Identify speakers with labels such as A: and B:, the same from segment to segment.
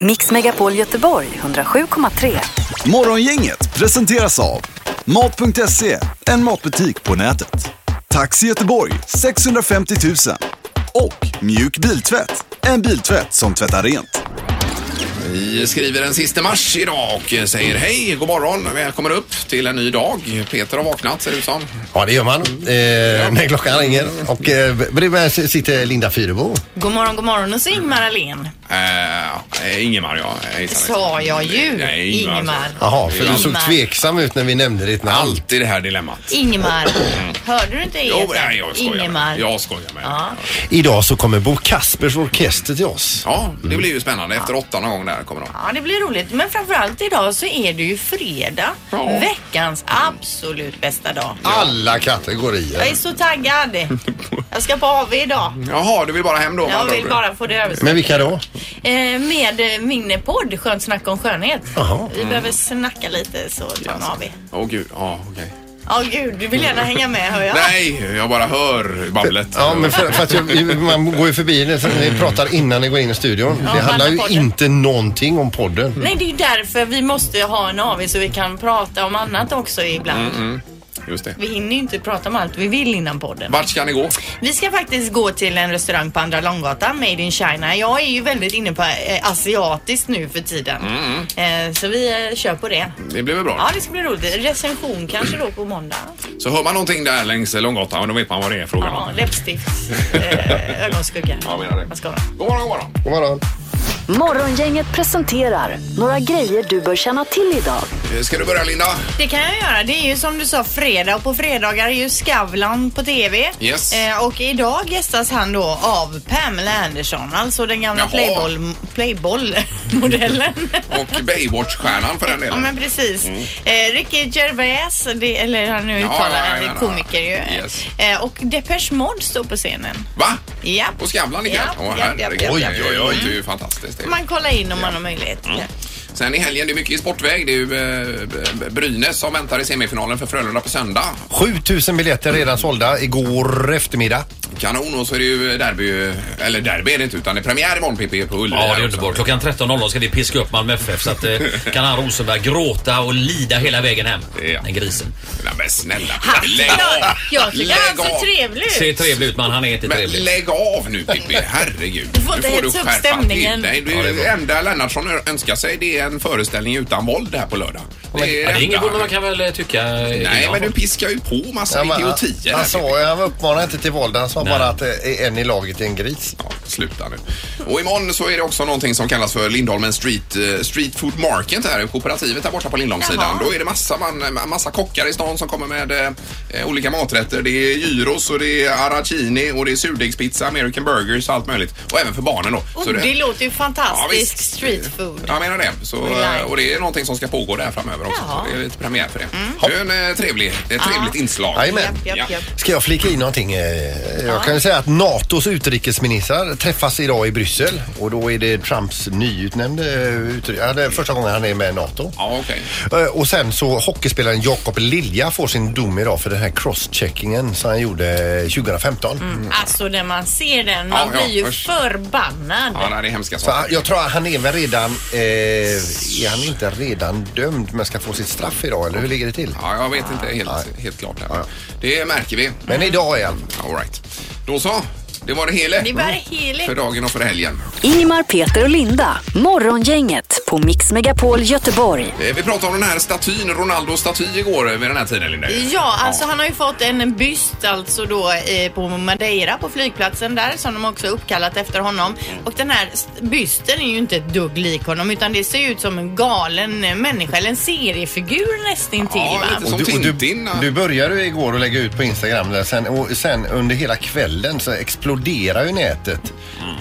A: Mix Megapol Göteborg 107,3.
B: Morgongänget presenteras av Mat.se, en matbutik på nätet. Taxi Göteborg 650 000. Och Mjuk Biltvätt, en biltvätt som tvättar rent.
C: Vi skriver den sista mars idag och säger hej, god morgon, välkommen upp till en ny dag. Peter har vaknat ser det ut som.
D: Ja, det gör man eh, när klockan ringer. Och eh, bredvid mig sitter Linda Fyrebo.
E: God morgon, god morgon och så Ingmar
C: Mm.
E: Ahlén.
C: Eh, Ingemar ja. Hejsan,
E: Det
C: hejsan.
E: sa jag
C: Nej,
E: ju.
C: alltså. Ingmar.
E: Ingmar.
D: Jaha, för du såg
E: Ingmar.
D: tveksam ut när vi nämnde ditt namn.
C: Alltid det här dilemmat.
E: Ingmar. Hörde du inte det?
C: Jo, nej, jag skojar
E: Ingemar.
C: med. Jag skojar med.
E: Ja.
D: Idag så kommer Bo Kaspers orkester till oss.
C: Ja, det blir ju spännande. Efter åtta någon gång där kommer de.
E: Ja, det blir roligt. Men framförallt idag så är det ju fredag.
C: Ja.
E: Veckans absolut bästa dag.
D: Alla
E: Jag är
D: kategorier.
E: så taggad. Jag ska på AV idag.
C: Jaha, du vill bara hem då? med
E: Jag
C: andra
E: vill
C: ord.
E: bara få det överstått.
D: Men vilka då?
E: Eh, Med eh, min podd Skönt snack om skönhet.
D: Jaha.
E: Vi behöver snacka lite så tar en AV.
C: Åh gud, ja okej.
E: Ja, gud, du vill gärna hänga med hör jag.
C: Nej, jag bara hör babblet.
D: Ja, men för, för att jag, man går ju förbi det. så Vi pratar innan ni går in i studion. Det
E: om
D: handlar ju
E: alla podden.
D: inte någonting om
C: Mm.
D: podden.
E: Nej, det är ju därför vi måste ha en AV så vi kan prata om annat också ibland.
C: Mm, Just det.
E: Vi hinner ju inte prata om allt vi vill innan podden.
C: Vart ska ni gå?
E: Vi ska faktiskt gå till en restaurang på Andra Långgatan, Made in China. Jag är ju väldigt inne på eh, asiatiskt nu för tiden.
C: Mm,
E: Eh, så vi eh, kör på det.
C: Det blir väl bra?
E: Ja, det ska bli roligt. Recension kanske då på måndag.
C: Så hör man någonting där längs Långgatan, och då vet man vad det är frågan
E: Ja,
C: om.
E: läppstift, eh, ögonskugga.
C: Ja, menar det.
E: Vad ska man?
C: God morgon, god morgon.
D: God morgon.
A: Morgongänget presenterar några grejer du bör känna till idag.
C: Eh, Ska du börja Linda?
E: Det kan jag göra. Det är ju som du sa fredag och på fredagar är ju Skavlan på TV.
C: Yes.
E: Eh, och idag gästas han då av Pamela Anderson, alltså den gamla
C: Jaha.
E: playboll, playboll-modellen.
C: Och Baywatch-stjärnan för den
E: ja
C: delen.
E: men precis. Eh, Ricky Gervais, det, eller han nu
C: Mm. Ja,
E: uttalar
C: ja,
E: han,
C: ja,
E: är
C: ja,
E: komiker
C: ja.
E: ju.
C: Yes.
E: Eh, och Depeche Mode står på scenen.
C: Va?
E: Ja.
C: På Skavlan ikväll?
E: Ja,
C: Åh,
E: ja, ja,
C: herregud.
E: ja,
D: ja.
C: Oj, oj, oj. Det är ju fantastiskt. Det.
E: Man kollar in om man har möjlighet.
C: Mm. Sen i helgen, det är mycket i sportväg. Det är ju eh, B- B- Brynäs som väntar i semifinalen för Frölunda på söndag.
D: 7000 biljetter redan sålda igår eftermiddag.
C: Kanon. Och så är det ju derby, eller derby är det inte, utan det är premiär imorgon PP på Ullevi.
F: Ja, det
C: här
F: är
C: också.
F: underbart. Klockan 13.00 ska vi piska upp Malmö FF så att eh, kan han Rosenberg gråta och lida hela vägen hem.
C: Ja.
F: Den grisen.
C: Nej, men snälla
E: Han,
C: Lägg
E: jag,
C: av!
E: jag tycker han
C: Lägg
E: ser
C: av!
E: trevlig ut.
F: Ser trevlig ut men han är inte
C: Men
F: trevlig.
C: lägg av nu Pippi, herregud.
E: Du får inte
C: Nu
E: hetsa upp
C: skärpa
E: stämningen.
C: till dig. Du,
F: Ja, det är
C: det
F: bra.
C: enda Lennartsson önskar sig det är en föreställning utan våld här på lördag.
F: Men, det är
C: enda
F: inget
C: han-
F: man kan väl eh, tycka.
C: Nej, men du piskar ju på massa
D: men,
C: idiotier. här, typ.
D: han,
F: Alltså,
D: sa, han uppmanade inte till våld. Han sa
F: Nej.
D: bara att eh, en i laget är en gris.
C: Ja, sluta nu. Och imorgon så är det också någonting som kallas för Lindholmen Street, eh, Street Food Market här, kooperativet där borta på Lindholmssidan.
E: Jaha.
C: Då är det massa, man, massa kockar i stan som kommer med eh, olika maträtter. Det är gyros och det är arracini och det är surdegspizza, American burgers och allt möjligt. Och även för barnen då.
E: Och
C: Så
E: Oh, det, låter ju
C: Ja,
E: fantastiskt.
C: visst.
E: street food.
C: Jag menar det. Så, eh, och det är någonting som ska pågå där framöver också.
E: Jaha. Mm.
C: Så det är lite premiär för det. Det är en eh, trevlig, ett trevligt inslag.
D: Jajamän.
E: Japp, japp,
C: Ja.
E: japp.
D: Ska jag flika in någonting? Eh, Jag kan ju säga att NATOs utrikesministrar träffas idag i Bryssel och då är det Trumps nyutnämnde eh, utri- ja, det är första gången han är med i NATO.
C: Ja, okej.
D: Eh, Och sen så hockeyspelaren Jakob Lilja får sin dom idag för den här crosscheckingen som han gjorde eh, 2015.
E: Alltså när man ser den, man
C: Mm. Ja, ja,
E: blir ju
C: usch.
E: förbannad.
C: Ja, nej, det är hemska
D: Så han-
C: saker.
D: jag tror att han är väl redan, eh, är han inte redan dömd men ska få sitt straff idag eller hur ligger det till?
C: Ja, jag vet inte helt, helt klart. Här.
D: Ja.
C: Det märker vi.
D: Men idag är han.
C: All right. Då så. Det var det hela.
E: Det var det hela.
C: För dagen och för helgen.
A: Ingemar, Peter och Linda. Morgongänget på Mix Megapol Göteborg.
C: Eh, Vi pratade om den här statyn, Ronaldos staty igår eh, vid den här tiden Linda.
E: Ja, alltså han har ju fått en byst alltså då eh, på Madeira på flygplatsen där som de också uppkallat efter honom.
C: Mm.
E: Och den här st- bysten är ju inte ett dugg lik honom utan det ser ju ut som en galen eh, människa eller en seriefigur nästintill.
C: Ja,
E: va?
C: lite så. Som
D: och du,
C: Tintin, ja.
D: du började ju igår att lägga ut på Instagram där sen, och sen under hela kvällen så exploderar ju nätet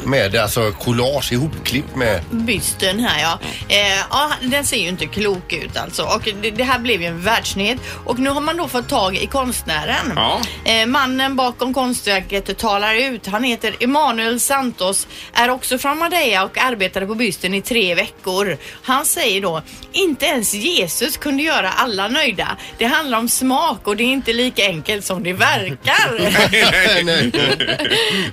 D: med alltså collage ihopklipp med
E: bysten här ja. Eh, ja. Den ser ju inte klok ut alltså. Och det, det här blev ju en världsnyhet. Och nu har man då fått tag i konstnären.
C: Ja.
E: Eh, mannen bakom konstverket talar ut. Han heter Emanuel Santos, är också från Madeira och arbetade på bysten i tre veckor. Han säger då, inte ens Jesus kunde göra alla nöjda. Det handlar om smak och det är inte lika enkelt som det verkar.
D: Nej, nej.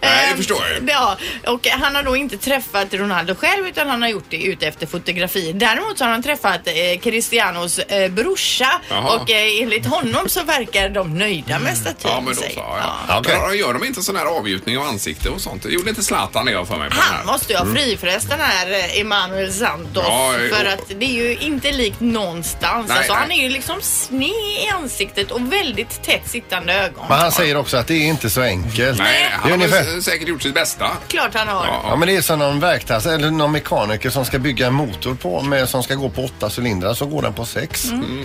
C: Nej, det förstår jag ju.
E: Ehm, Ja, och Och han har då inte träffat Ronaldo själv utan han har gjort det ute efter fotografier. Däremot så har han träffat eh, Cristianos eh, brorsa
C: Jaha. Mm.
E: och eh, enligt honom så verkar de nöjda med statyn.
C: Ja, men då så.
E: säger-
C: Ja.
E: Ja.
C: Ja.
D: Okej.
C: Men Gör de inte sån här avgjutning av ansikte och sånt? Det gjorde inte Zlatan det jag för mig på den
E: Han
C: här? Mm.
E: måste ju ha frifräst den här eh, Emanuel Santos.
C: Ja, eh,
E: för
C: och-
E: att det är ju inte likt någonstans.
C: Nej,
E: alltså,
C: nej.
E: Han är ju liksom sned i ansiktet och väldigt tätt sittande ögon.
D: Men han säger också att det är inte så enkelt.
C: Nej, han
D: Det är
C: har
D: ungefär-
C: väl s- säkert gjort sitt bästa.
E: Klart han har.
C: Ja.
D: Ja men det är som någon verkstads eller någon mekaniker som ska bygga en motor på med, som ska gå på åtta cylindrar så går den på sex.
C: Mm.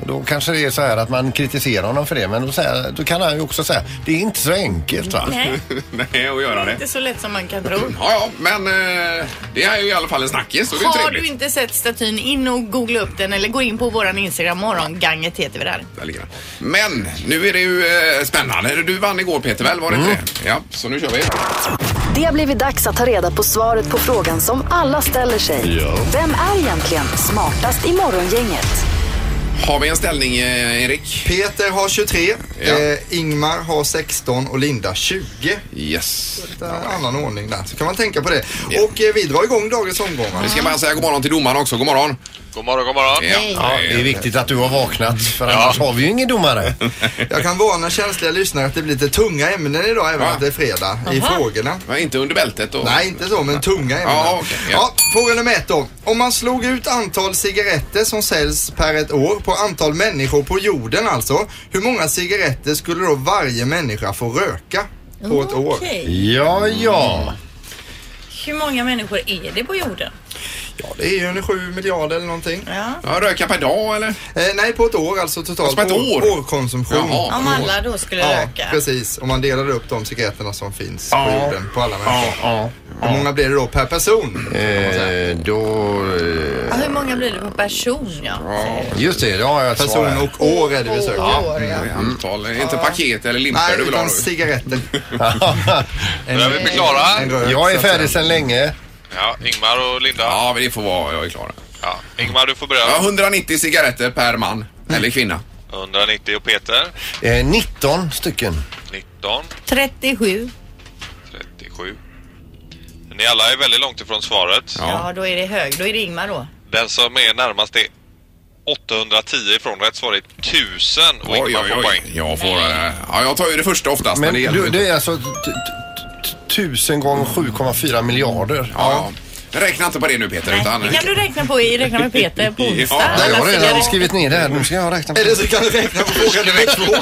D: Och då kanske det är så här att man kritiserar honom för det men då, säger, då kan han ju också säga det är inte så enkelt va.
E: Nej,
C: Nej, att göra
E: det är
C: det.
E: inte så lätt som man kan tro.
C: Ja, ja, men eh, det är ju i alla fall en snackis och det är
E: Har du
C: trevligt.
E: inte sett statyn, in och googla upp den eller gå in på våran Instagram, morgonganget heter vi där.
C: Där ligger den. Men nu är det ju eh, spännande. Du vann igår Peter väl, var
D: Mm.
C: det inte det? Ja, så nu kör vi.
A: Det har blivit dags att ta reda på svaret på frågan som alla ställer sig.
D: Ja.
A: Vem är egentligen smartast i morgongänget?
C: Har vi en ställning eh, Erik?
G: Peter har 23,
C: Ja.
G: eh, Ingmar har 16 och Linda 20.
C: Yes.
G: Lite annan ordning där, så kan man tänka på det. Och eh, vi drar igång dagens omgångar.
C: Vi ska bara säga god morgon till domaren också. God morgon.
H: God morgon, god morgon.
C: Ja,
D: Ja, det är viktigt att du har vaknat för annars har vi ju ingen domare.
G: Jag kan varna känsliga lyssnare att det blir lite tunga ämnen idag även
C: Ja.
G: att det är fredag i frågorna.
C: Men inte under bältet och...
G: Nej, inte så, men tunga ämnen.
C: Ja, okej, ja.
G: ja, fråga nummer ett då. Om man slog ut antal cigaretter som säljs per ett år på antal människor på jorden alltså. Hur många cigaretter skulle då varje människa få röka på ett år?
E: Okej.
D: Ja, ja.
E: Hur många människor är det på jorden?
G: Ja, det är ju en sju miljarder eller någonting.
E: Ja.
C: Ja, röka per dag eller?
G: Eh, nej, på ett år alltså totalt.
C: Alltså på ett
G: År-
C: år?
G: Årkonsumtion.
C: Jaha.
E: Om alla då skulle
G: Ja,
E: röka.
G: precis. Om man delar upp de cigaretterna som finns på
D: Ja.
G: jorden på alla
D: ja,
G: människor.
D: ja.
G: Hur många blir det då per person?
D: Eh, då... eh,
E: Ja, hur många blir det på person? Ja.
D: Just det, då har jag ett svar
G: Person
D: här.
G: och år är det vi söker.
E: Ja.
C: I Antal, inte paket eller limpor
G: Nej,
C: du vill ha
G: utan
C: nu.
G: cigaretter. En,
H: Börjar vi bli klara?
G: en rök,
D: Jag är
G: så att
D: färdig
G: säga.
D: sedan länge.
H: Ja, Ingmar och Linda. Ja.
C: Ja, men det får vara. Jag är klar.
H: Ingmar, du får börja.
C: Ja, 190 cigaretter per man eller kvinna.
H: 190 och Peter.
D: Eh, 19 stycken.
H: 19,
E: 37.
H: 37. Ni alla är väldigt långt ifrån svaret.
E: Ja.
C: Ja.
E: då är det hög. Då är det Ingmar då.
H: Den som är närmast är 810 ifrån rätt svar är 1000 och
C: Oj,
H: Ingmar
C: oj,
H: får
C: oj.
H: poäng.
C: Jag, får, eh, ja, jag tar ju det första oftast.
D: Men
C: Men det gäller
D: du,
C: inte.
D: det är alltså t- t- t- tusen gånger 7,4 miljarder.
C: Ja. ja. Räkna inte på det nu Peter.
E: Nej,
C: Utan,
E: det kan du räkna på i Räkna med Peter på onsdag.
C: Ja,
D: Nej, jag har
E: Alla
D: redan
E: cigaretter.
D: skrivit ner det här. Nu ska jag räkna på
G: Eller så kan du räkna på fråga nummer två.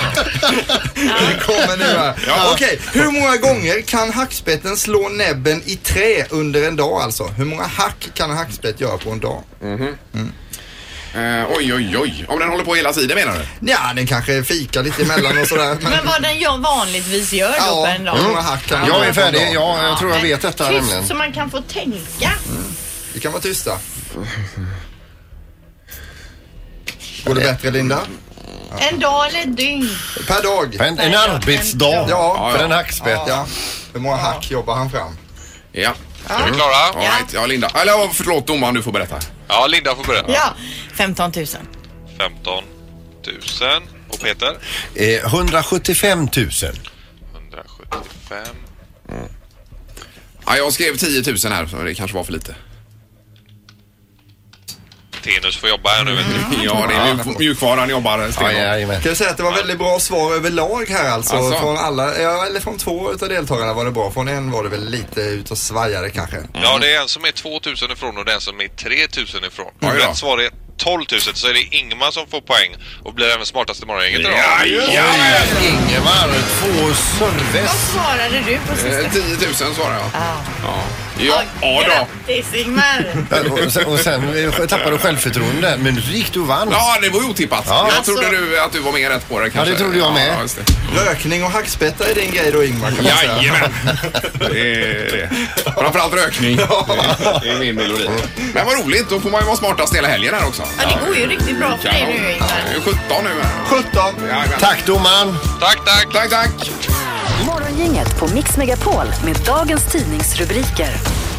G: Det kommer nu här.
C: Ja.
G: Okej, hur många gånger kan hackspetten slå näbben i trä under en dag alltså? Hur många hack kan en hackspett göra på en dag?
C: Eh, oj, oj, oj. Om den håller på hela tiden menar du?
G: Ja, den kanske fikar lite emellan och sådär. Men,
E: Men vad den jag vanligtvis gör då på
G: ja, Mm.
E: en dag.
G: hur många hack kan den
D: Jag
G: göra
D: är
G: på en
D: färdig.
G: dag?
D: Ja, jag tror jag vet detta
E: Tyst
D: nämligen.
E: så man kan få tänka.
G: Vi kan vara tysta. Går det bättre Linda?
E: En dag eller ett dygn.
G: Per dag.
D: En, en arbetsdag
G: Ja.
D: för en hackspett.
G: Ja. Hur många hack jobbar han fram?
C: Ja.
H: Är vi klara?
C: All right. Ja, Linda. Eller ja, förlåt domaren, du får berätta.
H: Ja, Linda får börja.
E: Ja, 15 000.
H: 15 000 och Peter?
D: Eh, 175 000.
H: 175.
C: Ja, jag skrev 10 000 här, så det kanske var för lite.
H: Tenus får jobba här nu vet ni.
C: Ja, det är mjuk- mjukvaran jobbar
D: Ja,
C: stenhårt.
D: jajamän.
G: Kan jag säga att det var väldigt bra svar överlag här alltså.
C: Alltså?
G: Från alla, ja, eller från två utav deltagarna var det bra. Från en var det väl lite ut och svajade kanske.
C: Mm.
H: Ja, det är en som är 2000 ifrån och den som är 3000 ifrån.
C: Ja, ja.
H: Rätt svar är 12 000 så är det Ingmar som får poäng och blir även smartaste morgongänget idag.
C: Jajamän!
D: Ingemar, två
E: Vad
D: service.
E: svarade du på sista?
C: Eh, 10 000 svarade jag.
E: Ja.
C: Ja, ja, ja då.
E: Grattis Ingmar!
D: Och sen, och sen eh, tappade du självförtroende. Men du gick du och vann.
C: Ja, det var ju otippat.
D: Ja.
C: Jag
E: Alltså-
C: trodde du, att du var mer rätt på det kanske.
D: det trodde jag med.
C: Ja, just det.
G: Rökning och hackspettar är din grej då Ingmar kan man säga.
C: Jajamän! Det är det. Framförallt rökning. Det är min melodi. Men vad roligt, då får man ju vara smartast hela helgen här också.
E: Ja, det går ju riktigt bra för dig nu
C: Det
E: Ingmar.
C: är 17 nu. här.
G: 17.
C: Jajamän.
D: Tack domaren.
H: Tack, tack!
C: Tack, tack!
A: Morgongänget på Mix Megapol med dagens tidningsrubriker.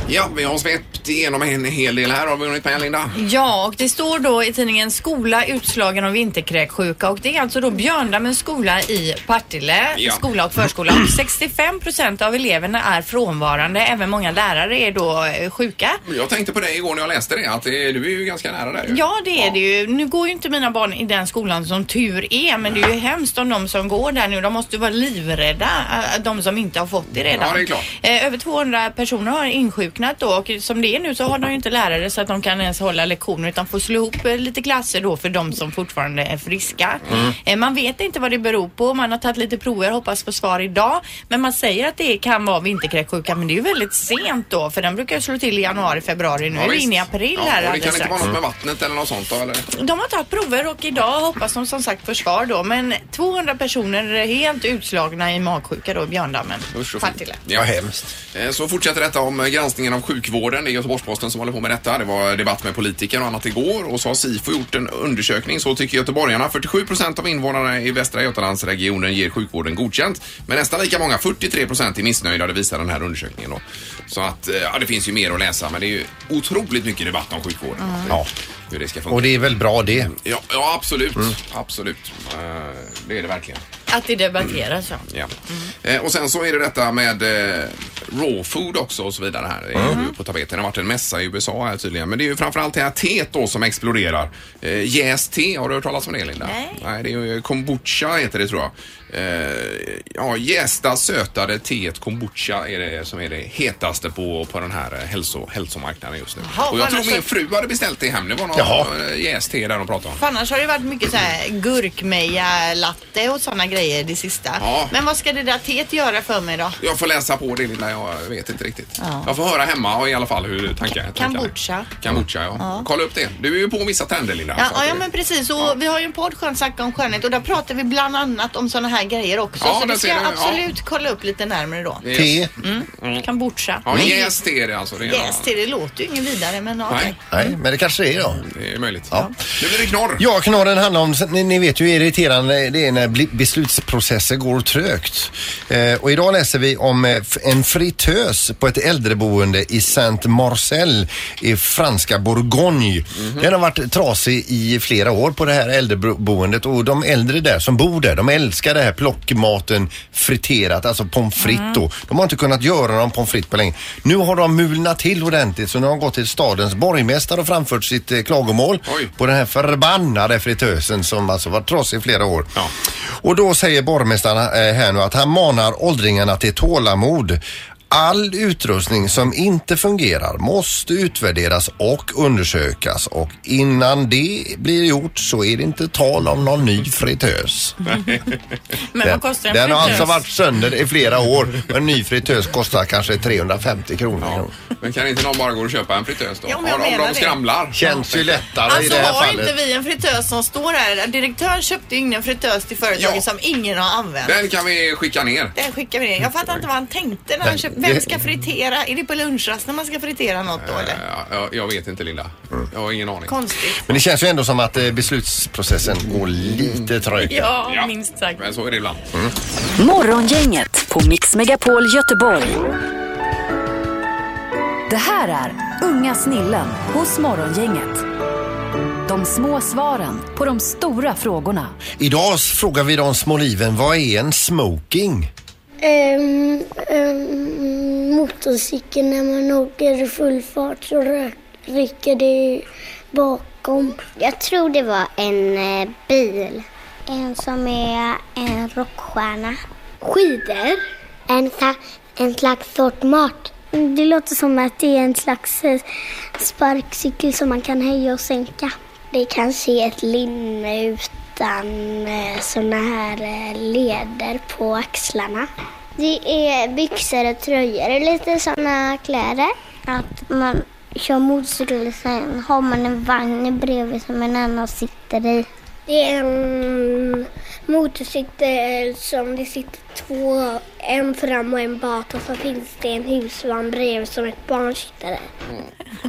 C: Ja, vi har svept igenom en hel del här. Har vi hunnit med Linda?
E: Ja, och det står då i tidningen Skola utslagen av vinterkräksjuka och det är alltså då Björndammens skola i Partille,
C: Ja.
E: skola och förskola. Och 65 procent av eleverna är frånvarande, även många lärare är då eh, sjuka.
C: Jag tänkte på dig igår när jag läste det, att det, du är ju ganska nära där ju.
E: Ja, det är det ju. Nu går ju inte mina barn i den skolan som tur är, men det är ju hemskt om de som går där nu. De måste ju vara livrädda, äh, de som inte har fått det redan.
C: Ja, det är klart.
E: Eh, Över 200 personer har insjuknat då och som det är nu så har de ju inte lärare så att de kan ens hålla lektioner utan får slå ihop eh, lite klasser då för de som fortfarande är friska.
C: Mm.
E: Eh, Man vet inte vad det beror på. Man har tagit lite prover, hoppas på svar idag. Men man säger att det kan vara vinterkräksjuka, men det är ju väldigt sent då för den brukar ju slå till i januari, februari. Nu
C: Ja,
E: är vi
C: visst.
E: inne i april
C: Ja,
E: här
C: och Det kan
E: alldeles
C: inte
E: strax.
C: vara något med vattnet eller något sånt då, eller?
E: De har tagit prover och idag hoppas de som sagt försvar då. Men 200 personer är helt utslagna i magsjuka då i Björndammen.
C: Usch och fy.
E: Partille.
C: Ja, hemskt. Så fortsätter detta om eh, granskningen av sjukvården. Det är Göteborgs-Posten som håller på med detta. Det var debatt med politiker och annat igår och så har Sifo gjort en undersökning. Så tycker göteborgarna. 47 procent av invånarna i Västra Götalandsregionen ger sjukvården godkänt. Men nästan lika många, 43 procent, är missnöjda. Det visar den här undersökningen då. Så att, eh, ja, det finns ju mer att läsa men det är ju otroligt mycket debatt om sjukvården. Ja. Hur det ska funka.
D: Och det är väl bra det. Mm.
C: Ja, ja absolut. Absolut. Eh, Det är det verkligen.
E: Att det debatteras ja.
C: Ja. Eh, och sen så är det detta med eh, raw food också och så vidare här. Det är
E: Mm.
C: ju på tapeten. Det har varit en mässa i USA här tydligen. Men det är ju framförallt det här teet då som exploderar. Eh, Jäst te, har du hört talas om det Linda?
E: Nej.
C: det är ju eh, kombucha heter det tror jag. Eh, ja, jästa sötade teet kombucha är det som är det hetaste på, på den här eh, hälso, hälsomarknaden just nu.
E: Jaha,
C: och jag tror
E: annars så-
C: min fru hade beställt det hem. Det var någon
D: Jaha.
C: eh, jäst te där de pratade om.
E: För annars har det varit mycket så här gurkmeja-latte och sådana grejer det sista.
C: Ja.
E: Men vad ska det där teet göra för mig då?
C: Jag får läsa på det lilla, jag vet inte riktigt.
E: Ja.
C: Jag får höra hemma i alla fall hur tankarna tankarna är.
E: Kombucha.
C: Kombucha, ja. Kolla upp det. Du är ju på vissa tänder Linda.
E: Ja,
C: så att
E: ja, ja
C: det-
E: men precis. Och vi har ju en podd Skön snacka om skönhet och där pratar vi bland annat om sådana här grejer också.
C: Ja,
E: så
C: där
E: det ska
C: ser du,
E: jag
C: ja.
E: absolut kolla upp lite närmare då.
C: Yes.
D: Te.
E: Kombucha.
C: Ja, jäst är det alltså. Det är,
E: Yes, det, det låter ju inget vidare men ja.
C: Nej,
D: Nej, men det kanske det är då.
C: det är möjligt.
D: Ja.
C: Nu blir det knorr.
D: Ja, knorren handlar om, ni, ni vet ju hur irriterande det är när bli- beslutsprocesser går trögt. Eh, och idag läser vi om eh, f- en fritös på ett äldreboende i Saint-Marcel i franska Bourgogne. Den har varit trasig i flera år på det här äldreboendet och de äldre där som bor där, de älskar det här plockmaten friterat, alltså pommes frites då. De har inte kunnat göra någon pommes frites på länge. Nu har de mulnat till ordentligt så nu har de gått till stadens borgmästare och framfört sitt eh, klagomål
C: Oj.
D: på den här förbannade fritösen som alltså var trasig i flera år.
C: Ja.
D: Och då säger borgmästaren eh, här nu att han manar åldringarna till tålamod. All utrustning som inte fungerar måste utvärderas och undersökas och innan det blir gjort så är det inte tal om någon ny fritös.
E: Men
D: Den,
E: vad kostar en
D: den har alltså
E: fritös?
D: varit sönder i flera år och en ny fritös kostar kanske 350 kronor.
C: Men kan inte någon bara gå och köpa en fritös då?
E: Ja, men jag
C: om
E: menar
C: de
E: det.
C: skramlar.
D: Känns ju lättare i
E: Alltså
D: det här
E: har
D: fallet.
E: inte vi en fritös som står här? Direktören köpte ju ingen fritös till företaget
C: Ja.
E: som ingen har använt.
C: Den kan vi skicka ner.
E: Den skickar vi ner. Jag fattar inte vad han tänkte när han köpte. Vem ska fritera? Är det på lunchrast när man ska fritera något då eller?
C: Ja, jag- jag vet inte Linda. Jag har ingen aning.
E: Konstigt.
D: Men det känns ju ändå som att eh, beslutsprocessen går lite trögt.
E: Ja,
C: Ja.
E: minst sagt.
C: Men så är det ibland.
A: Morgongänget på Mix Megapol Göteborg. Det här är Unga snillen hos Morgongänget. De små svaren på de stora frågorna.
D: Idag s- frågar vi de små liven, vad är en smoking?
I: Ehm, ehm, motorcykeln när man åker i full fart så rö- rycker det bakom.
J: Jag tror det var en eh, bil.
I: En som är en rockstjärna. Skidor. En, ta- en slags sort mat. Det låter som att det är en slags eh, sparkcykel som man kan höja och sänka. Det kanske är ett linne utan eh, såna här eh, leder på axlarna. Det är byxor och tröjor, lite såna kläder. Att man kör motorcykel sen har man en vagn bredvid som en annan sitter i. Det är en motorcykel som det sitter två, en fram och en bak och så finns det en husvagn bredvid som ett barn sitter i.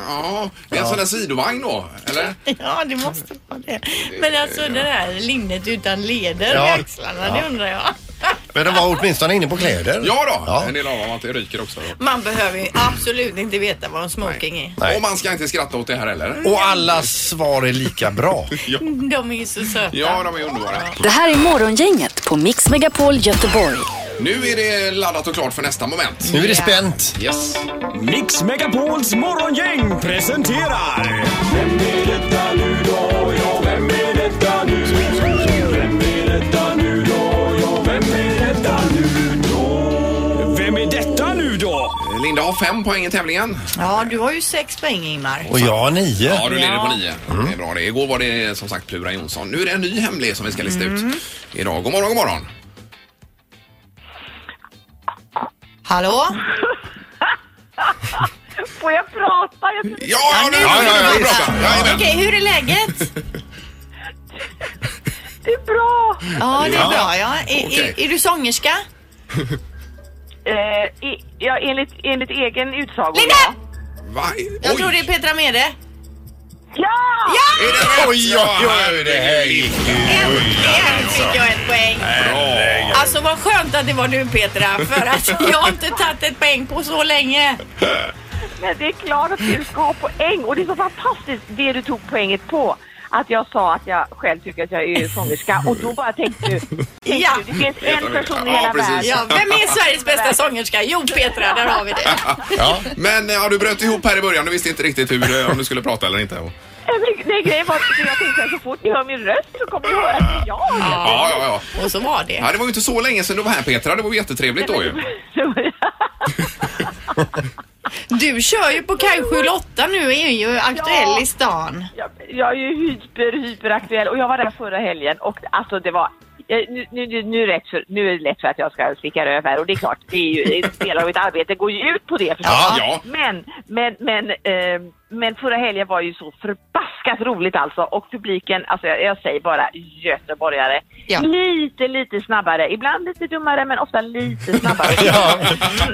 C: Ja, det är en sån där sidovagn då, eller?
E: Ja, det måste vara det. Men alltså det där linnet utan leder
D: Ja.
E: i axlarna, det undrar jag.
D: Men de var åtminstone inne på kläder.
C: Ja då, en del av dem att det ryker också.
E: Man behöver ju absolut inte veta vad en smoking är.
D: Nej.
C: Och man ska inte skratta åt det här heller.
D: Och alla svar är lika bra.
E: De är ju så söta.
C: Ja, de är underbara.
A: Det här är Morgongänget på Mix Megapol Göteborg.
C: Nu är det laddat och klart för nästa moment.
D: Nu är det spänt.
C: Yes.
K: Mix Megapols morgongäng presenterar... Vem är detta nu då? Ja, vem är detta nu? Vem är detta nu då? Ja, vem är detta nu då? Vem är detta nu då?
C: Linda har fem poäng i tävlingen.
E: Ja, du har ju sex poäng Ingmar.
D: Och jag har nio.
C: Ja, du leder
E: Ja.
C: på nio. Det är bra det. Igår var det som sagt Plura Jonsson. Nu är det en ny hemlig som vi ska lista ut idag. God morgon, god morgon.
E: Hallå?
L: Får jag prata? Jag tycker
C: Ja, ja, nu ja, ja, ja, prata.
E: Okej,
C: Jajamän.
E: hur är läget?
L: det är bra.
E: Ja, det är
C: Ja.
E: bra. Ja. Är,
C: Okej.
E: är, är du sångerska?
L: Eh, i, ja, enligt, enligt egen utsago.
E: Linda!
L: ja.
C: Va?
E: Jag
C: Oj.
E: tror det är Petra Mede.
L: Ja!
E: Ja!
C: Är det rätt? Oj, oj, oj, det alltså. här gick
E: Äntligen fick jag ett poäng.
C: bra.
E: Alltså vad skönt att det var du Petra, för att jag har inte tagit ett poäng på så länge.
L: Men det är klart att du ska ha poäng. Och det är så fantastiskt det du tog poänget på. Att jag sa att jag själv tycker att jag är sångerska. Och då bara tänkte du, tänkte
E: Ja.
L: du det finns en person i
C: Ja,
L: hela
C: precis.
L: världen.
E: Ja, vem är Sveriges bästa sångerska? Jo Petra, där har vi det.
C: Men eh, ja, du bröt ihop här i början. Du visste inte riktigt hur, eh, om du skulle prata eller inte. Ja,
L: Eh, men Det grejen var att jag tänkte att så fort ni hör min röst så kommer ni höra att det är jag.
C: ja, ja.
E: Och så var det.
C: ja det var ju inte så länge sedan du var här Petra. Det var ju jättetrevligt då ju.
E: Du kör ju på Kaj 78 nu och är ju aktuell
L: Ja.
E: i stan.
L: Jag, jag är ju hyper, hyperaktuell och jag var där förra helgen och alltså det var jag- nu, nu, nu, nu, är det rätt för, nu är det lätt för att jag ska slicka röv här och det är klart, det är ju en del av mitt arbete går ju ut på det förstås.
C: Ja, ja.
L: Men, men, men, ehm, men förra helgen var ju så förbaskat roligt alltså och publiken, alltså jag, jag säger bara göteborgare,
E: Ja.
L: lite, lite snabbare, ibland lite dummare men ofta lite snabbare.
D: Ja.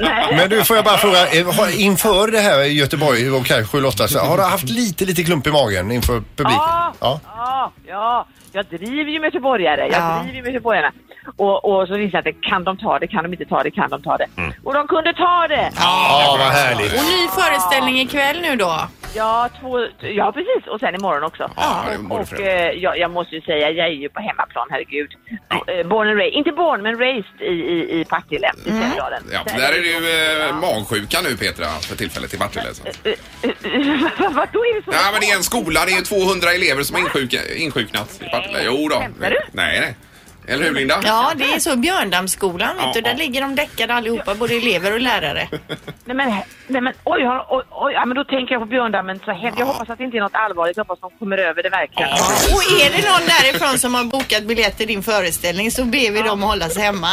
L: Nej.
D: Men du, får jag bara fråga. eh, har- Inför det här i Göteborg och kanske 7-8, så har du haft lite, lite klump i magen inför publiken?
L: Ja, ja. ja, Jag driver ju med göteborgare. Jag
E: Ja.
L: driver ju med göteborgarna. Och, och så visade det kan de ta det, kan de inte ta det, kan de ta det. Och de kunde ta det!
D: Ja, vad härligt.
E: Och ny föreställning ikväll nu då.
L: Ja, två, ja precis. Och sen imorgon också.
C: Ja, det är
L: och
C: både
L: och
C: för-
L: eh, jag, jag måste ju säga, jag är ju på hemmaplan, herregud. Eh, Born and raised, inte born men raised i, i, i Partille, i Sävedalen.
C: Mm. Ja,
L: Där-
C: där är du eh, magsjuka nu Petra för tillfället i Partille. så.
L: Eh, Vadå är det så?
C: Ja, men det är en skola. Det är 200 elever som är insjuka, insjuknat i Partille. Jo då.
L: Skämtar du?
C: Nej, nej. Eller hur Linda?
E: Ja, det är så Björndamsskolan vet
C: Ja,
E: du. Där
C: ja.
E: ligger de däckade allihopa, både elever och lärare.
L: Nej men, nej, men oj, oj, oj, oj, ja, men då tänker jag på Björndammen. Så hemskt. Jag hoppas att det inte är något allvarligt. Jag hoppas att de kommer över det verkligen.
E: Och är det någon därifrån som har bokat biljett till din föreställning så ber vi dem hålla sig hemma.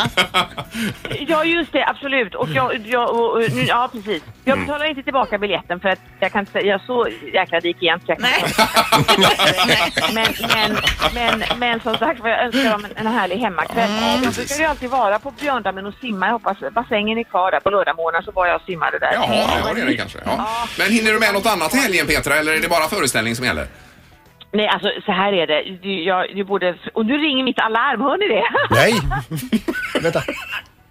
L: Ja, just det. Absolut. Och jag, jag, och, och, nu- ja, precis. Jag betalar inte tillbaka biljetten för att jag kan inte säga... Jag så jäkla rik egentligen.
E: Nej.
L: Men, men, men, men som sagt vad jag önskar dem en, en härlig hemmakväll. jag brukar ju alltid vara på Björndammen och simma. Jag hoppas bassängen är kvar där. På lördag morgon så var jag och simmade där.
C: Jaha, ja, det är det kanske. Ja. Men hinner du med något annat i helgen Petra eller är det bara föreställning som gäller?
L: Nej, alltså så här är det. Du, jag, du borde, och nu ringer mitt alarm. Hör ni det?
D: Nej. Vänta.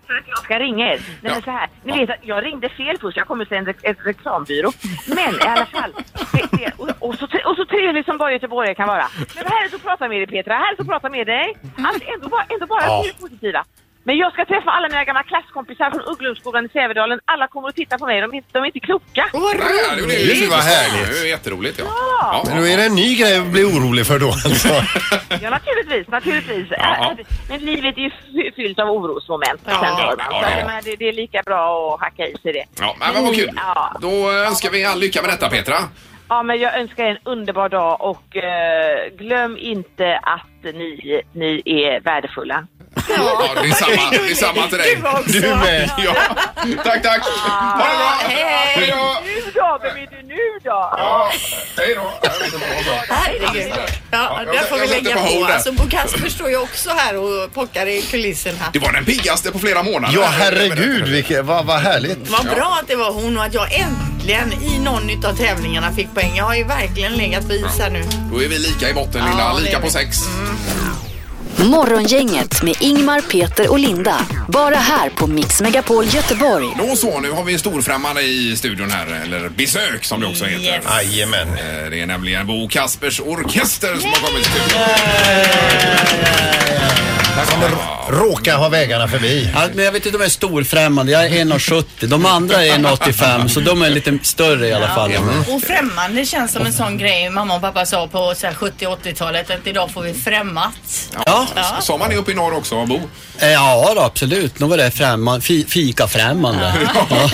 L: för att jag ska ringa er. Nej,
C: Ja.
L: men så här. Ni
C: Ja.
L: vet att jag ringde fel först. Jag kommer till en, re- en reklambyrå. Men i alla fall. Det, det, och, och, så, tre- och så trevligt som bara göteborgare kan vara. Men här är så prata med dig Petra. Här är så prata med dig. Alltså, ändå bara, ändå bara
D: Ja.
L: till det positiva. Men jag ska träffa alla mina gamla klasskompisar från Ugglumsskolan i Sävedalen. Alla kommer att titta på mig. De är, de är inte kloka.
E: Och vad roligt!
C: Ja, blir
D: Gud, vad
C: intressant.
D: härligt.
C: Det är ju jätteroligt. Ja.
D: Men då är det en ny grej att bli orolig för då alltså.
L: Ja, naturligtvis, naturligtvis.
C: Ja.
L: Alltså, Men livet är ju fy- fyllt av orosmoment.
E: Ja.
L: Sen hör man.
C: Ja,
L: Så
C: ja.
L: jag menar, det, det är lika bra att hacka i sig det.
C: Ja, men vad kul.
L: Ja.
C: Då eh, önskar vi all lycka med detta Petra.
L: Ja, men jag önskar er en underbar dag och eh, glöm inte att ni, ni är värdefulla.
C: Ja, det är samma, det är samma till dig.
E: Du också.
D: Du med.
C: Ja. Tack, tack. Ha det bra.
E: Hej, hej.
C: då.
L: Nu då? Vem är du nu då?
C: Ja, hej då. Jag vet inte vad jag sa.
E: Herregud. Ja,
C: Ja,
E: där
C: jag-
E: får vi
C: jag sätter
E: lägga
C: på
E: på.
C: hold där.
E: Alltså, Bo Kasper står ju också här och pockar i kulisserna.
C: Det var den piggaste på flera månader.
D: Ja, herregud, vilket, vad, vad härligt.
E: Vad bra att det var hon och att jag äntligen i någon av tävlingarna fick poäng. Jag har ju verkligen legat på is här nu.
C: Då är vi lika i botten, Linda.
E: Ja, det
C: lika
E: är
C: på
E: vi.
C: sex.
A: Morgongänget med Ingmar, Peter och Linda. Bara här på Mix Megapol Göteborg.
C: Då så, nu har vi en storfrämmande i studion här, eller besök som det också heter.
D: Yes.
C: Jajamän. Det är nämligen Bo Kaspers Orkester som har kommit till studion.
D: Råkar ha vägarna förbi.
M: Ja, men jag vet inte om jag är storfrämmande. Jag är 1,70. De andra är 1,85 så de är lite större i alla fall. Mm.
E: Och främmande känns som en sån grej mamma och pappa sa på så här 70-80-talet att idag får vi främmat.
M: Ja.
E: Ja.
C: Sa man det uppe i norr också, Bo?
M: Eh, Ja, då, absolut. Nog var det främman, fi, fika-främmande.
C: Eh,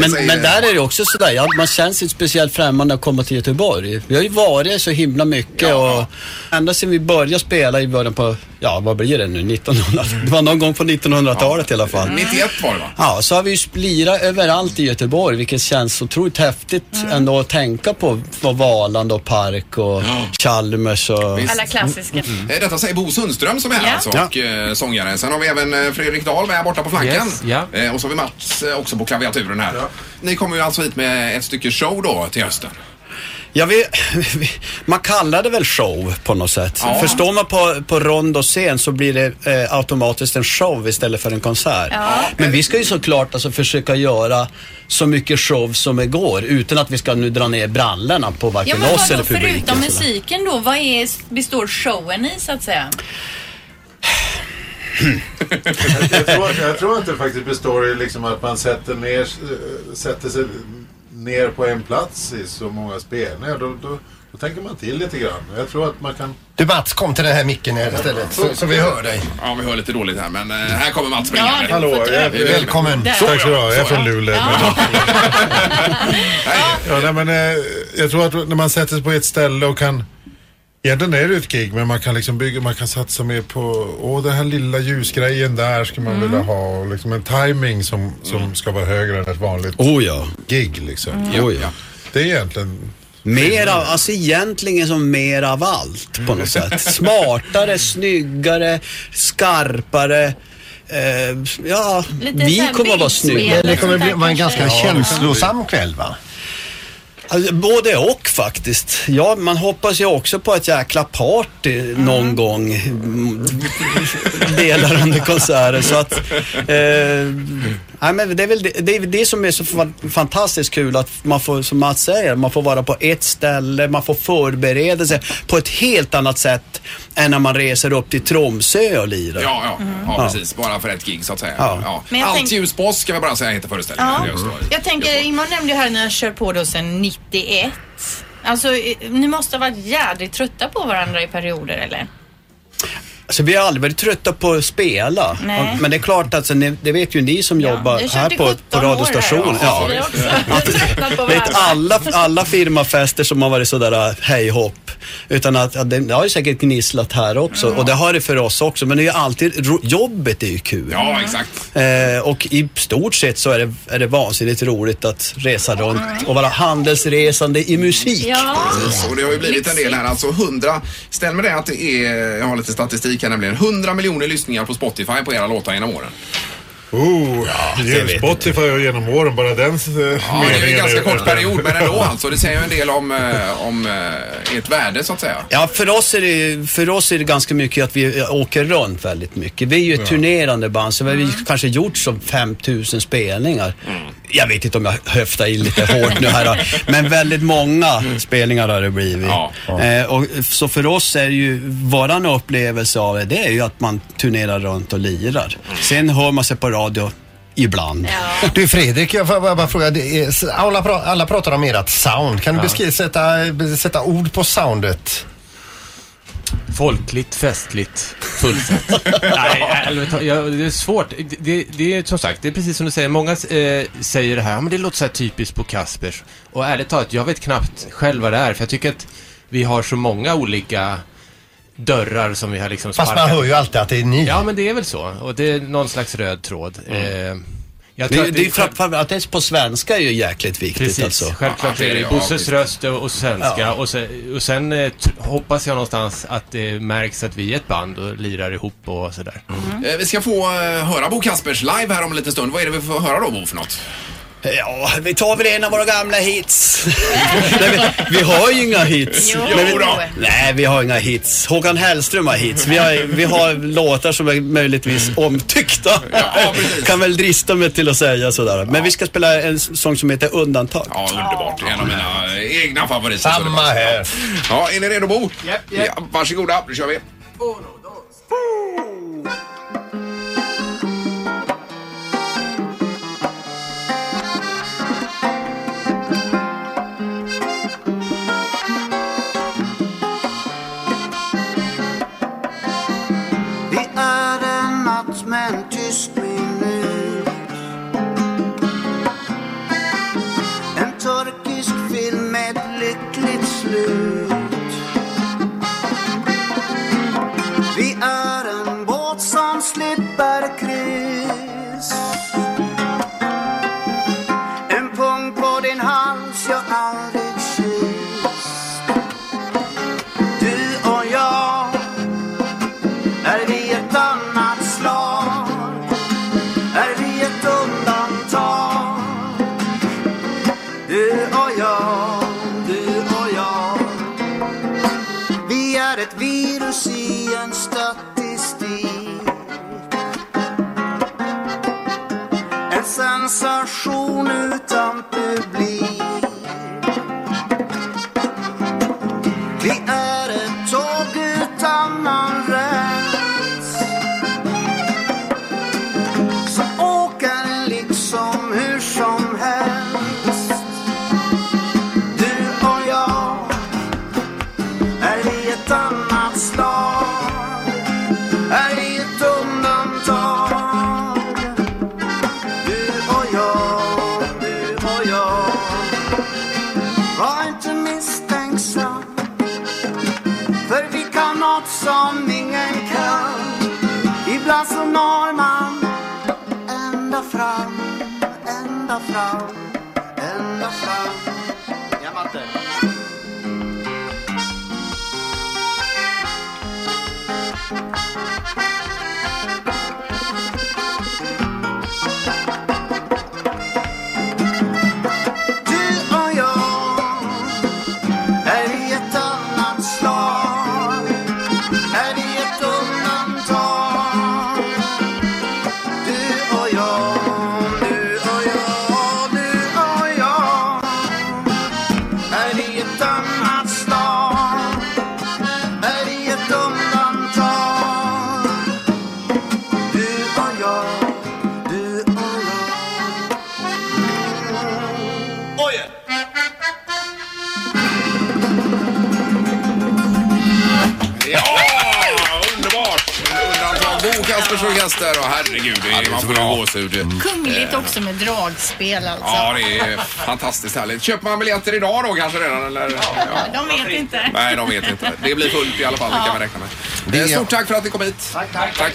M: Men,
C: säger-
M: men där är det också sådär, ja, man känns inte speciellt främmande att komma till Göteborg. Vi har ju varit så himla mycket och ända sedan vi började spela i början på, ja vad blir det nu, 1900, det var någon gång på 1900-talet i alla fall.
C: 91 var det va?
M: Ja, så har vi ju splirat överallt i Göteborg vilket känns otroligt häftigt ändå att tänka på, på Valand och Park och Chalmers och...
E: Alla klassiska.
C: Eh, Detta säger Bo Sundström som är här
E: Ja.
C: alltså, och eh, sångare. Sen har vi även eh, Fredrik Dahl med här borta på flanken.
N: Yes, ja.
C: Eh, Och så har vi Mats eh, också på klaviaturen här. Ni kommer ju alltså hit med ett stycke show då till hösten.
M: Ja, vi, vi, man kallar det väl show på något sätt.
C: Ja.
M: Förstår man på, på rond och scen så blir det eh, automatiskt en show istället för en konsert. Men vi ska ju såklart alltså försöka göra så mycket show som det går utan att vi ska nu dra ner brallorna på
E: Ja
M: varken
E: men
M: oss eller
E: vadå,
M: publiken.
E: förutom
M: sådär.
E: musiken då, vad är, består showen i så att säga?
O: Jag tror, jag tror att det faktiskt består i liksom att man sätter, ner, eh, sätter sig ner på en plats i så många spelningar. Då, då, då tänker man till lite grann. Jag tror att man kan...
D: Du Mats, kom till den här micken här istället så, så vi hör dig.
C: Ja, vi hör lite dåligt här men eh, här kommer Mats
D: Ja,
C: springande.
D: du Hallå, får jag- ta- Välkommen.
O: Tack
D: Så,
O: ska du ha. Jag är
D: så, ja.
O: från Luleå. Ja, nej, men, eh, jag tror att när man sätter sig på ett ställe och kan Egentligen är det ett gig men man kan liksom bygga, man kan satsa mer på, åh den här lilla ljusgrejen där ska man vilja ha och liksom en timing som, som ska vara högre än ett vanligt
M: oh, ja.
O: gig liksom.
M: Mm. Oh, ja.
O: Det är egentligen
M: Mer av, alltså egentligen som mer av allt på något sätt. Smartare, snyggare, skarpare. Eh, ja,
D: Lite så
M: vi
D: här
M: kommer att vara
D: bildspel
M: snygga.
D: och Det kommer sånt där vara en kanske. ganska känslosam
M: kväll va? Alltså, både och faktiskt. Ja, man hoppas ju också på ett jäkla party någon gång. mm, Delar under konserten. Så att, eh, nej, men det är väl det, det, är väl det som är så fa- fantastiskt kul att man får, som Mats säger, man får vara på ett ställe, man får förbereda sig på ett helt annat sätt än när man reser upp till Tromsö och lirar.
C: Ja, ja. ja,
M: Ja.
C: precis. Bara för ett gig så att säga.
M: Ja.
C: Ja.
E: Men jag
C: Allt
E: tänk-
C: ljus på oss ska vi bara säga heter föreställningen.
E: Ja.
C: Just då.
E: Jag tänker, Ingmar nämnde ju här när jag kör på då sedan 91. Alltså, eh, ni måste ha varit jädrigt trötta på varandra i perioder eller?
M: Alltså, vi har aldrig varit trötta på att spela.
E: Nej.
M: Men det är klart, alltså, ni, det vet ju ni som jobbar
E: ni har
M: här
E: kört i
M: på,
E: 17
M: på
E: år
M: radiostationen.
E: här, ja. Vi har också tröttnat på
M: Det är inte
E: varandra.
M: alla, alla firmafester som har varit sådär äh, hej hopp. Utan att, att det, det har ju säkert gnisslat här också och det har det för oss också. Men det är ju alltid, ro, jobbet är ju kul.
C: Ja, exakt.
M: Eh, och i stort sett så är det, är det vansinnigt roligt att resa runt och vara handelsresande i musik.
C: Precis, och det har ju blivit en del här. Alltså 100, stämmer det att det är, jag har lite statistik här nämligen, 100 miljoner lyssningar på Spotify på era låtar genom åren?
O: Oh,
C: det vet
O: Spotify och genom åren, bara den eh,
C: Ja, det är en
O: meningen
C: ganska
O: är-
C: kort period men ändå alltså. Det säger ju en del om, eh, om eh, ert värde så att säga.
M: Ja, för oss, är det, för oss är det ganska mycket att vi åker runt väldigt mycket. Vi är ju ett
C: Ja.
M: turnerande band, så vi har ju kanske gjort som 5000 spelningar. Jag vet inte om jag höftar in lite hårt nu här, då, men väldigt många spelningar har det blivit. Eh, och, så för oss är det ju, våran upplevelse av det, det är ju att man turnerar runt och lirar. Sen hör man sig på radio ibland.
D: Du Fredrik, jag får bara bara fråga. Det är, s- alla, pra, alla pratar om ert sound. Kan du
N: Ja.
D: beskriva, sätta, be- sätta ord på soundet?
N: Folkligt, festligt, fullsatt. Nej, eller, jag- det är svårt. Det- Det, det är som sagt, det är precis som du säger. Många eh, säger det här, "Ja, men det låter så här typiskt på Kaspers. Och ärligt talat, jag vet knappt själv vad det är, för jag tycker att vi har så många olika dörrar som vi har liksom
D: Fast man hör ju alltid att det är ni.
N: Ja, men det är väl så. Och det är någon slags röd tråd.
D: Mm.
N: Eh, jag
M: Det,
N: tror
M: det,
N: att
M: är framför- att det är på svenska är ju jäkligt viktigt
N: Precis,
M: alltså.
N: självklart är det Bosses röst och, och svenska
M: Ja.
N: och, sen, och sen eh, tr- hoppas jag någonstans att det märks att vi är ett band och lirar ihop och sådär.
C: Eh, Vi ska få eh, höra Bo Kaspers live här om en liten stund. Vad är det vi får höra då Bo för något?
M: Ja, vi tar väl en av våra gamla hits. nej, vi, vi har ju inga hits.
K: Jo.
M: Men vi,
K: Jodå.
M: nej, vi har inga hits. Håkan Hellström har hits. Vi har, vi har låtar som är möjligtvis omtyckta. kan väl drista mig till att säga sådär. Men vi ska spela en sång som heter Undantag.
C: Ja, underbart. En av mina eh, egna favoriter. Samma här. Ja, är ni redo Bo? Ja, varsågoda, nu kör vi.
P: Vi är en natt med en tyst minut En turkisk film med ett lyckligt slut Vi är en båt som slipper kris En pung på din hals jag aldrig kysst Du och jag är vi ett annat slag? Är vi ett undantag? Du och jag, du och jag. Vi är ett virus i en statistik. En sensation utan publik. Vi är ett tåg utan någon räls Som åker liksom hur som helst Du och jag Är vi ett annat slag? Är vi ett undantag? Du och jag, du och jag Var inte misstänksam för vi kan något som ingen kan Ibland så når man ända fram, ända fram, ända fram Ja, Matte. Du och jag är vi ett annat slag? Är vi ett undantag? Du och jag, du och jag, du och jag. Är vi ett annat slag? Är vi ett undantag? Du och jag, du och jag. Oj!
C: Ja, underbart! Undantag Bo, Kaspers orkester och herregud, det är, man får ju gåshud.
E: Kungligt också med dragspel alltså.
C: Ja, det är fantastiskt härligt. Köper man biljetter idag då kanske redan? Eller? Ja.
E: De vet inte.
C: Nej, de vet inte. Det blir fullt i alla fall, det kan man räkna med. Eh, Stort tack för att ni kom hit. Tack, tack.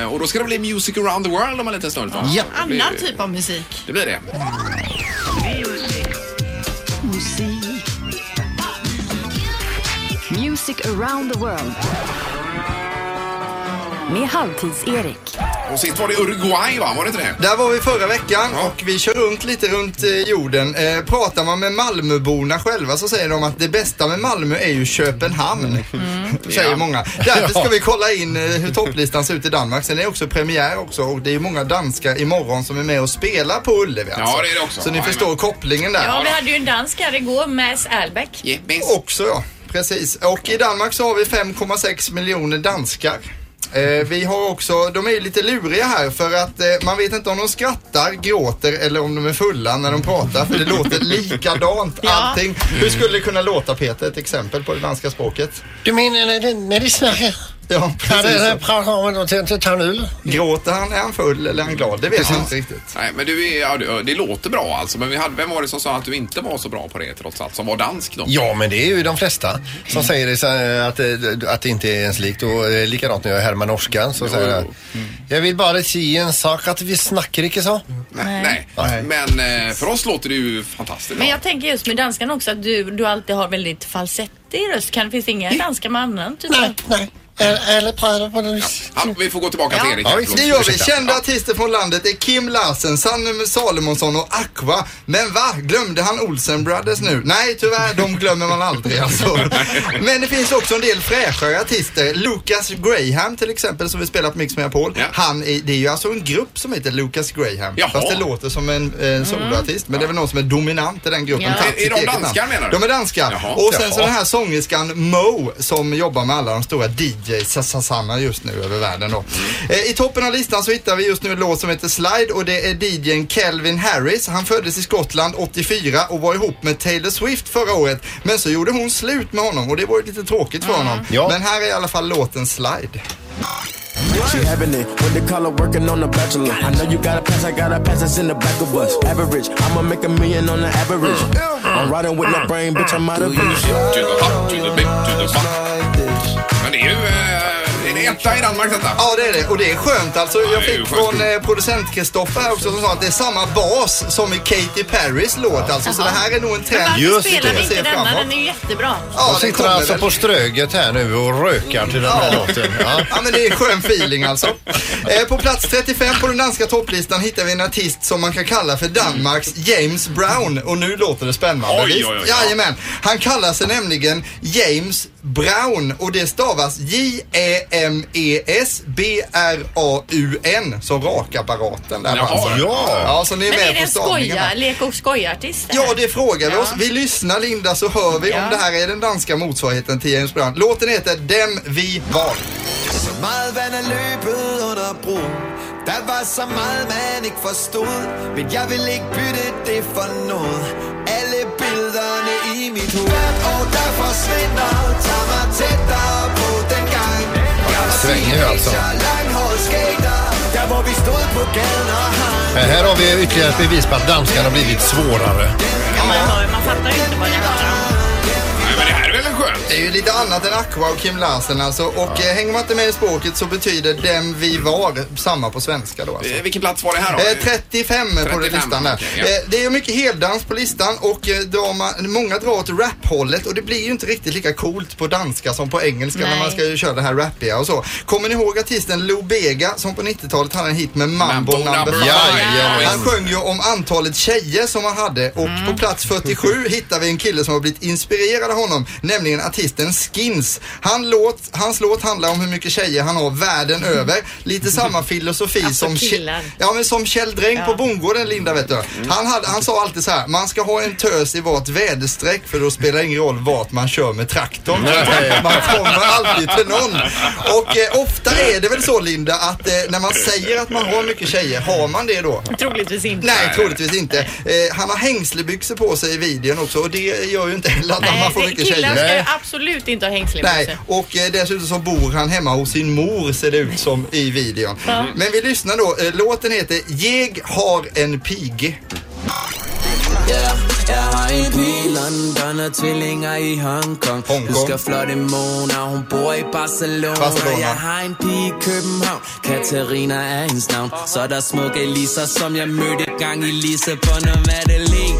C: Eh, Och då ska det bli Music around the world om en liten stund. va? Det blir-
E: Annan typ av musik.
C: Det blir det.
A: Musik. Music around the world. Med Halvtids-Erik.
C: Och sist var det Uruguay va? Var det inte det?
G: Där var vi förra veckan och vi kör runt lite runt eh, jorden. Eh, pratar man med Malmöborna själva så säger de att det bästa med Malmö är ju Köpenhamn.
C: Mm.
G: Säger
K: Ja.
G: många. Därför ska
K: Ja.
G: vi kolla in eh, hur topplistan ser ut i Danmark. Sen är det också premiär också och det är ju många danskar imorgon som är med och spelar på Ullevi alltså.
C: Ja, det är det också.
G: Så ni
C: Jajamän.
G: förstår kopplingen där.
E: Ja, vi hade ju en dansk här igår, Mass Albeck.
G: Också ja, precis. Och i Danmark så har vi 5,6 miljoner danskar. Eh, vi har också, de är ju lite luriga här för att eh, man vet inte om de skrattar, gråter eller om de är fulla när de pratar för det låter likadant allting. Hur skulle det kunna låta Peter, ett exempel på det danska språket?
D: Du menar när de, när de snackar?
G: Ja,
D: Ja, det
G: precis.
D: är bra om de inte tar en öl.
G: Gråter han, är han full eller är han glad? Det vet jag inte riktigt.
C: Nej, men du är, ja, du, det låter bra alltså. Men vi hade, vem var det som sa att du inte var så bra på det trots allt? Som var dansk då?
D: Ja, men det är ju de flesta som säger det, så, eh, att, eh, att det inte är ens likt. Och eh, likadant när jag härmar norskan så säger jag. Jag vill bara säga en sak att vi snackar inte så.
C: Nej. Men eh, för oss låter det ju fantastiskt.
E: Men jag tänker just med danskan också att du, du alltid har Mm. väldigt falsett i röst. Kan, finns det inga danskar med annan typ av...
D: Nej, nej. Eller pratar på det vis.
C: Ja, vi får gå tillbaka till Erik. här, förlåt.
G: det gör vi.
C: Ursäkta.
G: Kända
C: Ja.
G: artister från landet är Kim Larsen, Sanne Salomonsson och Aqua. Men va? Glömde han Olsen Brothers nu? Nej, tyvärr. De glömmer man aldrig alltså. Men det finns också en del fräschare artister. Lucas Graham till exempel som vi spelar på Mix Megapol. Han är, det är ju alltså en grupp som heter Lucas Graham.
C: Jaha.
G: Fast det låter som en, en soloartist. Men det är väl någon som är dominant i den gruppen.
C: Ja.
G: Tagit
C: Är- är
G: sitt
C: de
G: eget namn.
C: danskar, menar du?
G: De är danskar.
C: Jaha.
G: Och sen så
C: Jaha.
G: den här sångerskan Mo som jobbar med alla de stora DJ-sassarna just nu över världen då.
C: Mm.
G: Eh, I toppen av listan så hittar vi just nu en låt som heter Slide och det är DJn Calvin Harris. Han föddes i Skottland 84 och var ihop med Taylor Swift förra året. Men så gjorde hon slut med honom och det var ju lite tråkigt
C: Mm.
G: för honom. Men här är i alla fall låten Slide.
Q: She having it with the color working on the bachelor. I know you gotta pass, I gotta pass, it's in the back of us. Average, I'ma make a million on the average.
D: Mm.
Q: I'm riding with no brain, bitch, I'm out of it.
C: To the hot, to the big, to the fuck. Men det är ju... eh, Är det etta i Danmark detta?
G: Ja, det är det. Och det är skönt alltså. Jag
C: det är ju skönt.
G: fick från eh, producent Kristoffer här också som sa att det är samma bas som i Katy Perrys låt alltså. Så det här är nog en trend.
E: Men varför spelar vi
G: Jag ser
E: inte denna?
G: framåt.
E: Den är ju jättebra.
G: Ja,
D: de
G: den
D: sitter
G: kommer
D: alltså
G: väl.
D: på Ströget här nu och rökar till den här låten.
G: Ja. men det är skön feeling alltså. Eh, på plats 35 på den danska topplistan hittar vi en artist som man kan kalla för Danmarks James Brown. Och nu låter det spännande.
C: Oj,
G: visst?
C: oj, oj, ja.
G: Jajamän. Han kallar sig nämligen James Brown och det stavas E J-E-M-E-S-B-R-A-U-N. Så rakapparaten där
E: Jaha,
G: alltså.
E: ja.
G: ja, så ni är
E: Men
G: med
E: är det
G: på
E: en
G: stavningen här.
E: skoja, lek och skojartist? det här?
G: Ja, det frågar vi
E: Ja.
G: oss. Vi lyssnar Linda så hör vi
E: Ja.
G: om det här är den danska motsvarigheten till James Brown. Låten heter Dem vi var.
P: Så meget vand er løbet under bron Der var så meget man ikke forstod Men jeg vil ikke bytte det for noget Alle billederne i mit hoved Og der forsvinder Tager mig tættere på den gang Jeg var
D: svänger jo altså.
P: teenager, langhåret skater Der hvor vi stod på gaden og hang
D: Men Eh, här har vi ytterligare ett bevis på att danskan har blivit svårare.
E: Ja, man, hör, man fattar ju inte vad det handlar om.
G: Det är ju lite annat än Aqua och Kim Larsen alltså. Och eh, hänger man inte med i språket så betyder Dem vi var samma på svenska då alltså.
C: Eh, Vilken plats var det här då?
G: Eh, 35 på den
C: 35,
G: listan där.
C: okej, ja.
G: Eh, Det är ju mycket heldans på listan och eh, drama, många drar åt rap-hållet och det blir ju inte riktigt lika coolt på danska som på engelska när
E: Nej.
G: man ska ju köra det här rappiga och så. Kommer ni ihåg artisten Lou Bega som på 90-talet hade en hit med Mambo number
D: Five.
G: five?
D: Jajamän.
G: Han sjöng ju om antalet tjejer som han hade och på plats 47 hittar vi en kille som har blivit inspirerad av honom, nämligen artisten Skins. Han låt, hans låt handlar om hur mycket tjejer han har världen över. Lite samma filosofi som Ke-
E: killar.
G: Ja men som Kjell Dräng på bondgården Linda vet du. Han, hade, han sa alltid så här, man ska ha en tös i vart väderstreck för då spelar det ingen roll vart man kör med traktorn.
D: Nej.
G: Man kommer alltid till någon. Och eh, ofta är det väl så Linda att eh, när man säger att man har mycket tjejer, har man det då?
E: Troligtvis inte.
G: Nej, troligtvis inte. Eh, han har hängslebyxor på sig i videon också och det gör ju inte heller att man
E: Nej,
G: får
E: det-
G: mycket
E: killar ska ju
G: tjejer.
E: absolut inte ha hängslen på
G: Nej,
E: sig.
G: och eh, dessutom så bor han hemma hos sin mor ser det ut som i videon.
E: Ja.
G: Men vi lyssnar då. Eh, Låten heter Jag har en pige.
R: Yeah, jeg har en pige i London og tvillinger i Hongkong. Hong Husker flotte Mona, hun bor i Barcelona.
G: Barcelona.
R: Og jeg har en pige i København, Katarina er hendes navn. Så er der smukke Lisa, som jeg mødte gang i Lissabon og Madeleine.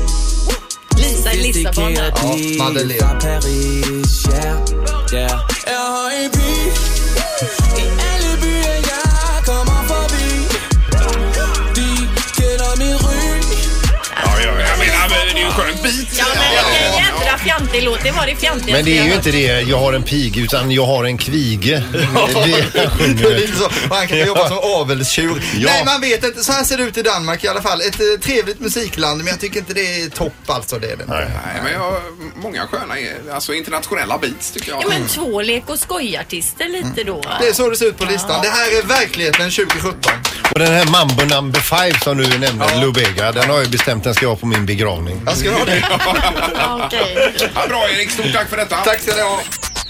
E: Lisa i Lissabon.
R: Dedikeret
E: där.
R: pige Fra Paris, yeah, yeah. Jeg har en pige i alle byer, jeg kommer forbi. De kender min ry.
C: Ja, ja, jag menar, men det är ju en skön bit.
E: Ja, men vilken jädra fjantig låt. Det var det fjantigaste
D: Men det är
E: jag
D: ju
E: hört.
D: inte det, jag har en pig, utan jag har en kvige. Det är det han
G: Det är
D: sjunger.
G: inte så. Man kan ju jobba som avelstjur.
D: Ja.
G: Nej, man vet inte. Så här ser det ut i Danmark i alla fall. Ett eh, trevligt musikland, men jag tycker inte det är topp alltså. Det är det. Nej.
C: Nej, men jag har många sköna, eh, alltså internationella beats tycker jag.
E: Ja, men två lek och skojartister lite då.
D: Mm.
G: Det är så det ser ut på listan. Det här är verkligheten 2017.
D: Och den här Mambo number five som du nämnde, Lou Bega, den har jag ju bestämt den ska jag ha på min begravning.
G: Jag ska ha det.
C: ja, bra Erik, stort tack för detta. Tack
G: ska ni ha.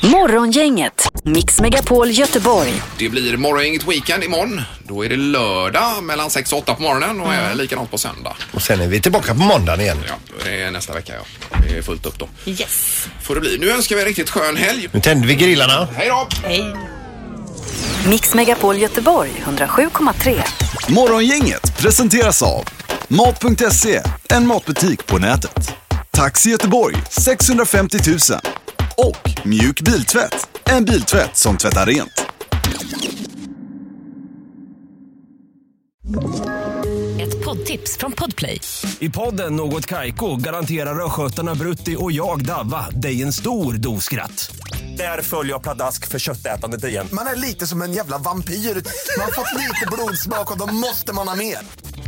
A: Morgongänget, Mix Megapol Göteborg.
C: Det blir Morgongänget Weekend imorgon. Då är det lördag mellan 6 och 8 på morgonen och mm. likadant på söndag.
D: Och sen är vi tillbaka på måndagen igen.
C: Det är nästa vecka ja. Det är fullt upp då.
E: Yes.
C: Får det bli. Nu önskar vi en riktigt skön helg.
D: Nu tänder vi grillarna.
C: Hej då!
E: Hej.
A: Mix Megapol Göteborg 107,3.
B: Morgongänget presenteras av Mat.se, en matbutik på nätet. Taxi Göteborg 650 000 och Mjuk Biltvätt, en biltvätt som tvättar rent.
A: tips från Podplay.
S: I podden Något Kaiko garanterar östgötarna Brutti och jag, Davva, dig en stor dos skratt. Där följer jag pladask för köttätandet igen.
B: Man är lite som en jävla vampyr. Man har fått lite blodsmak och då måste man ha mer.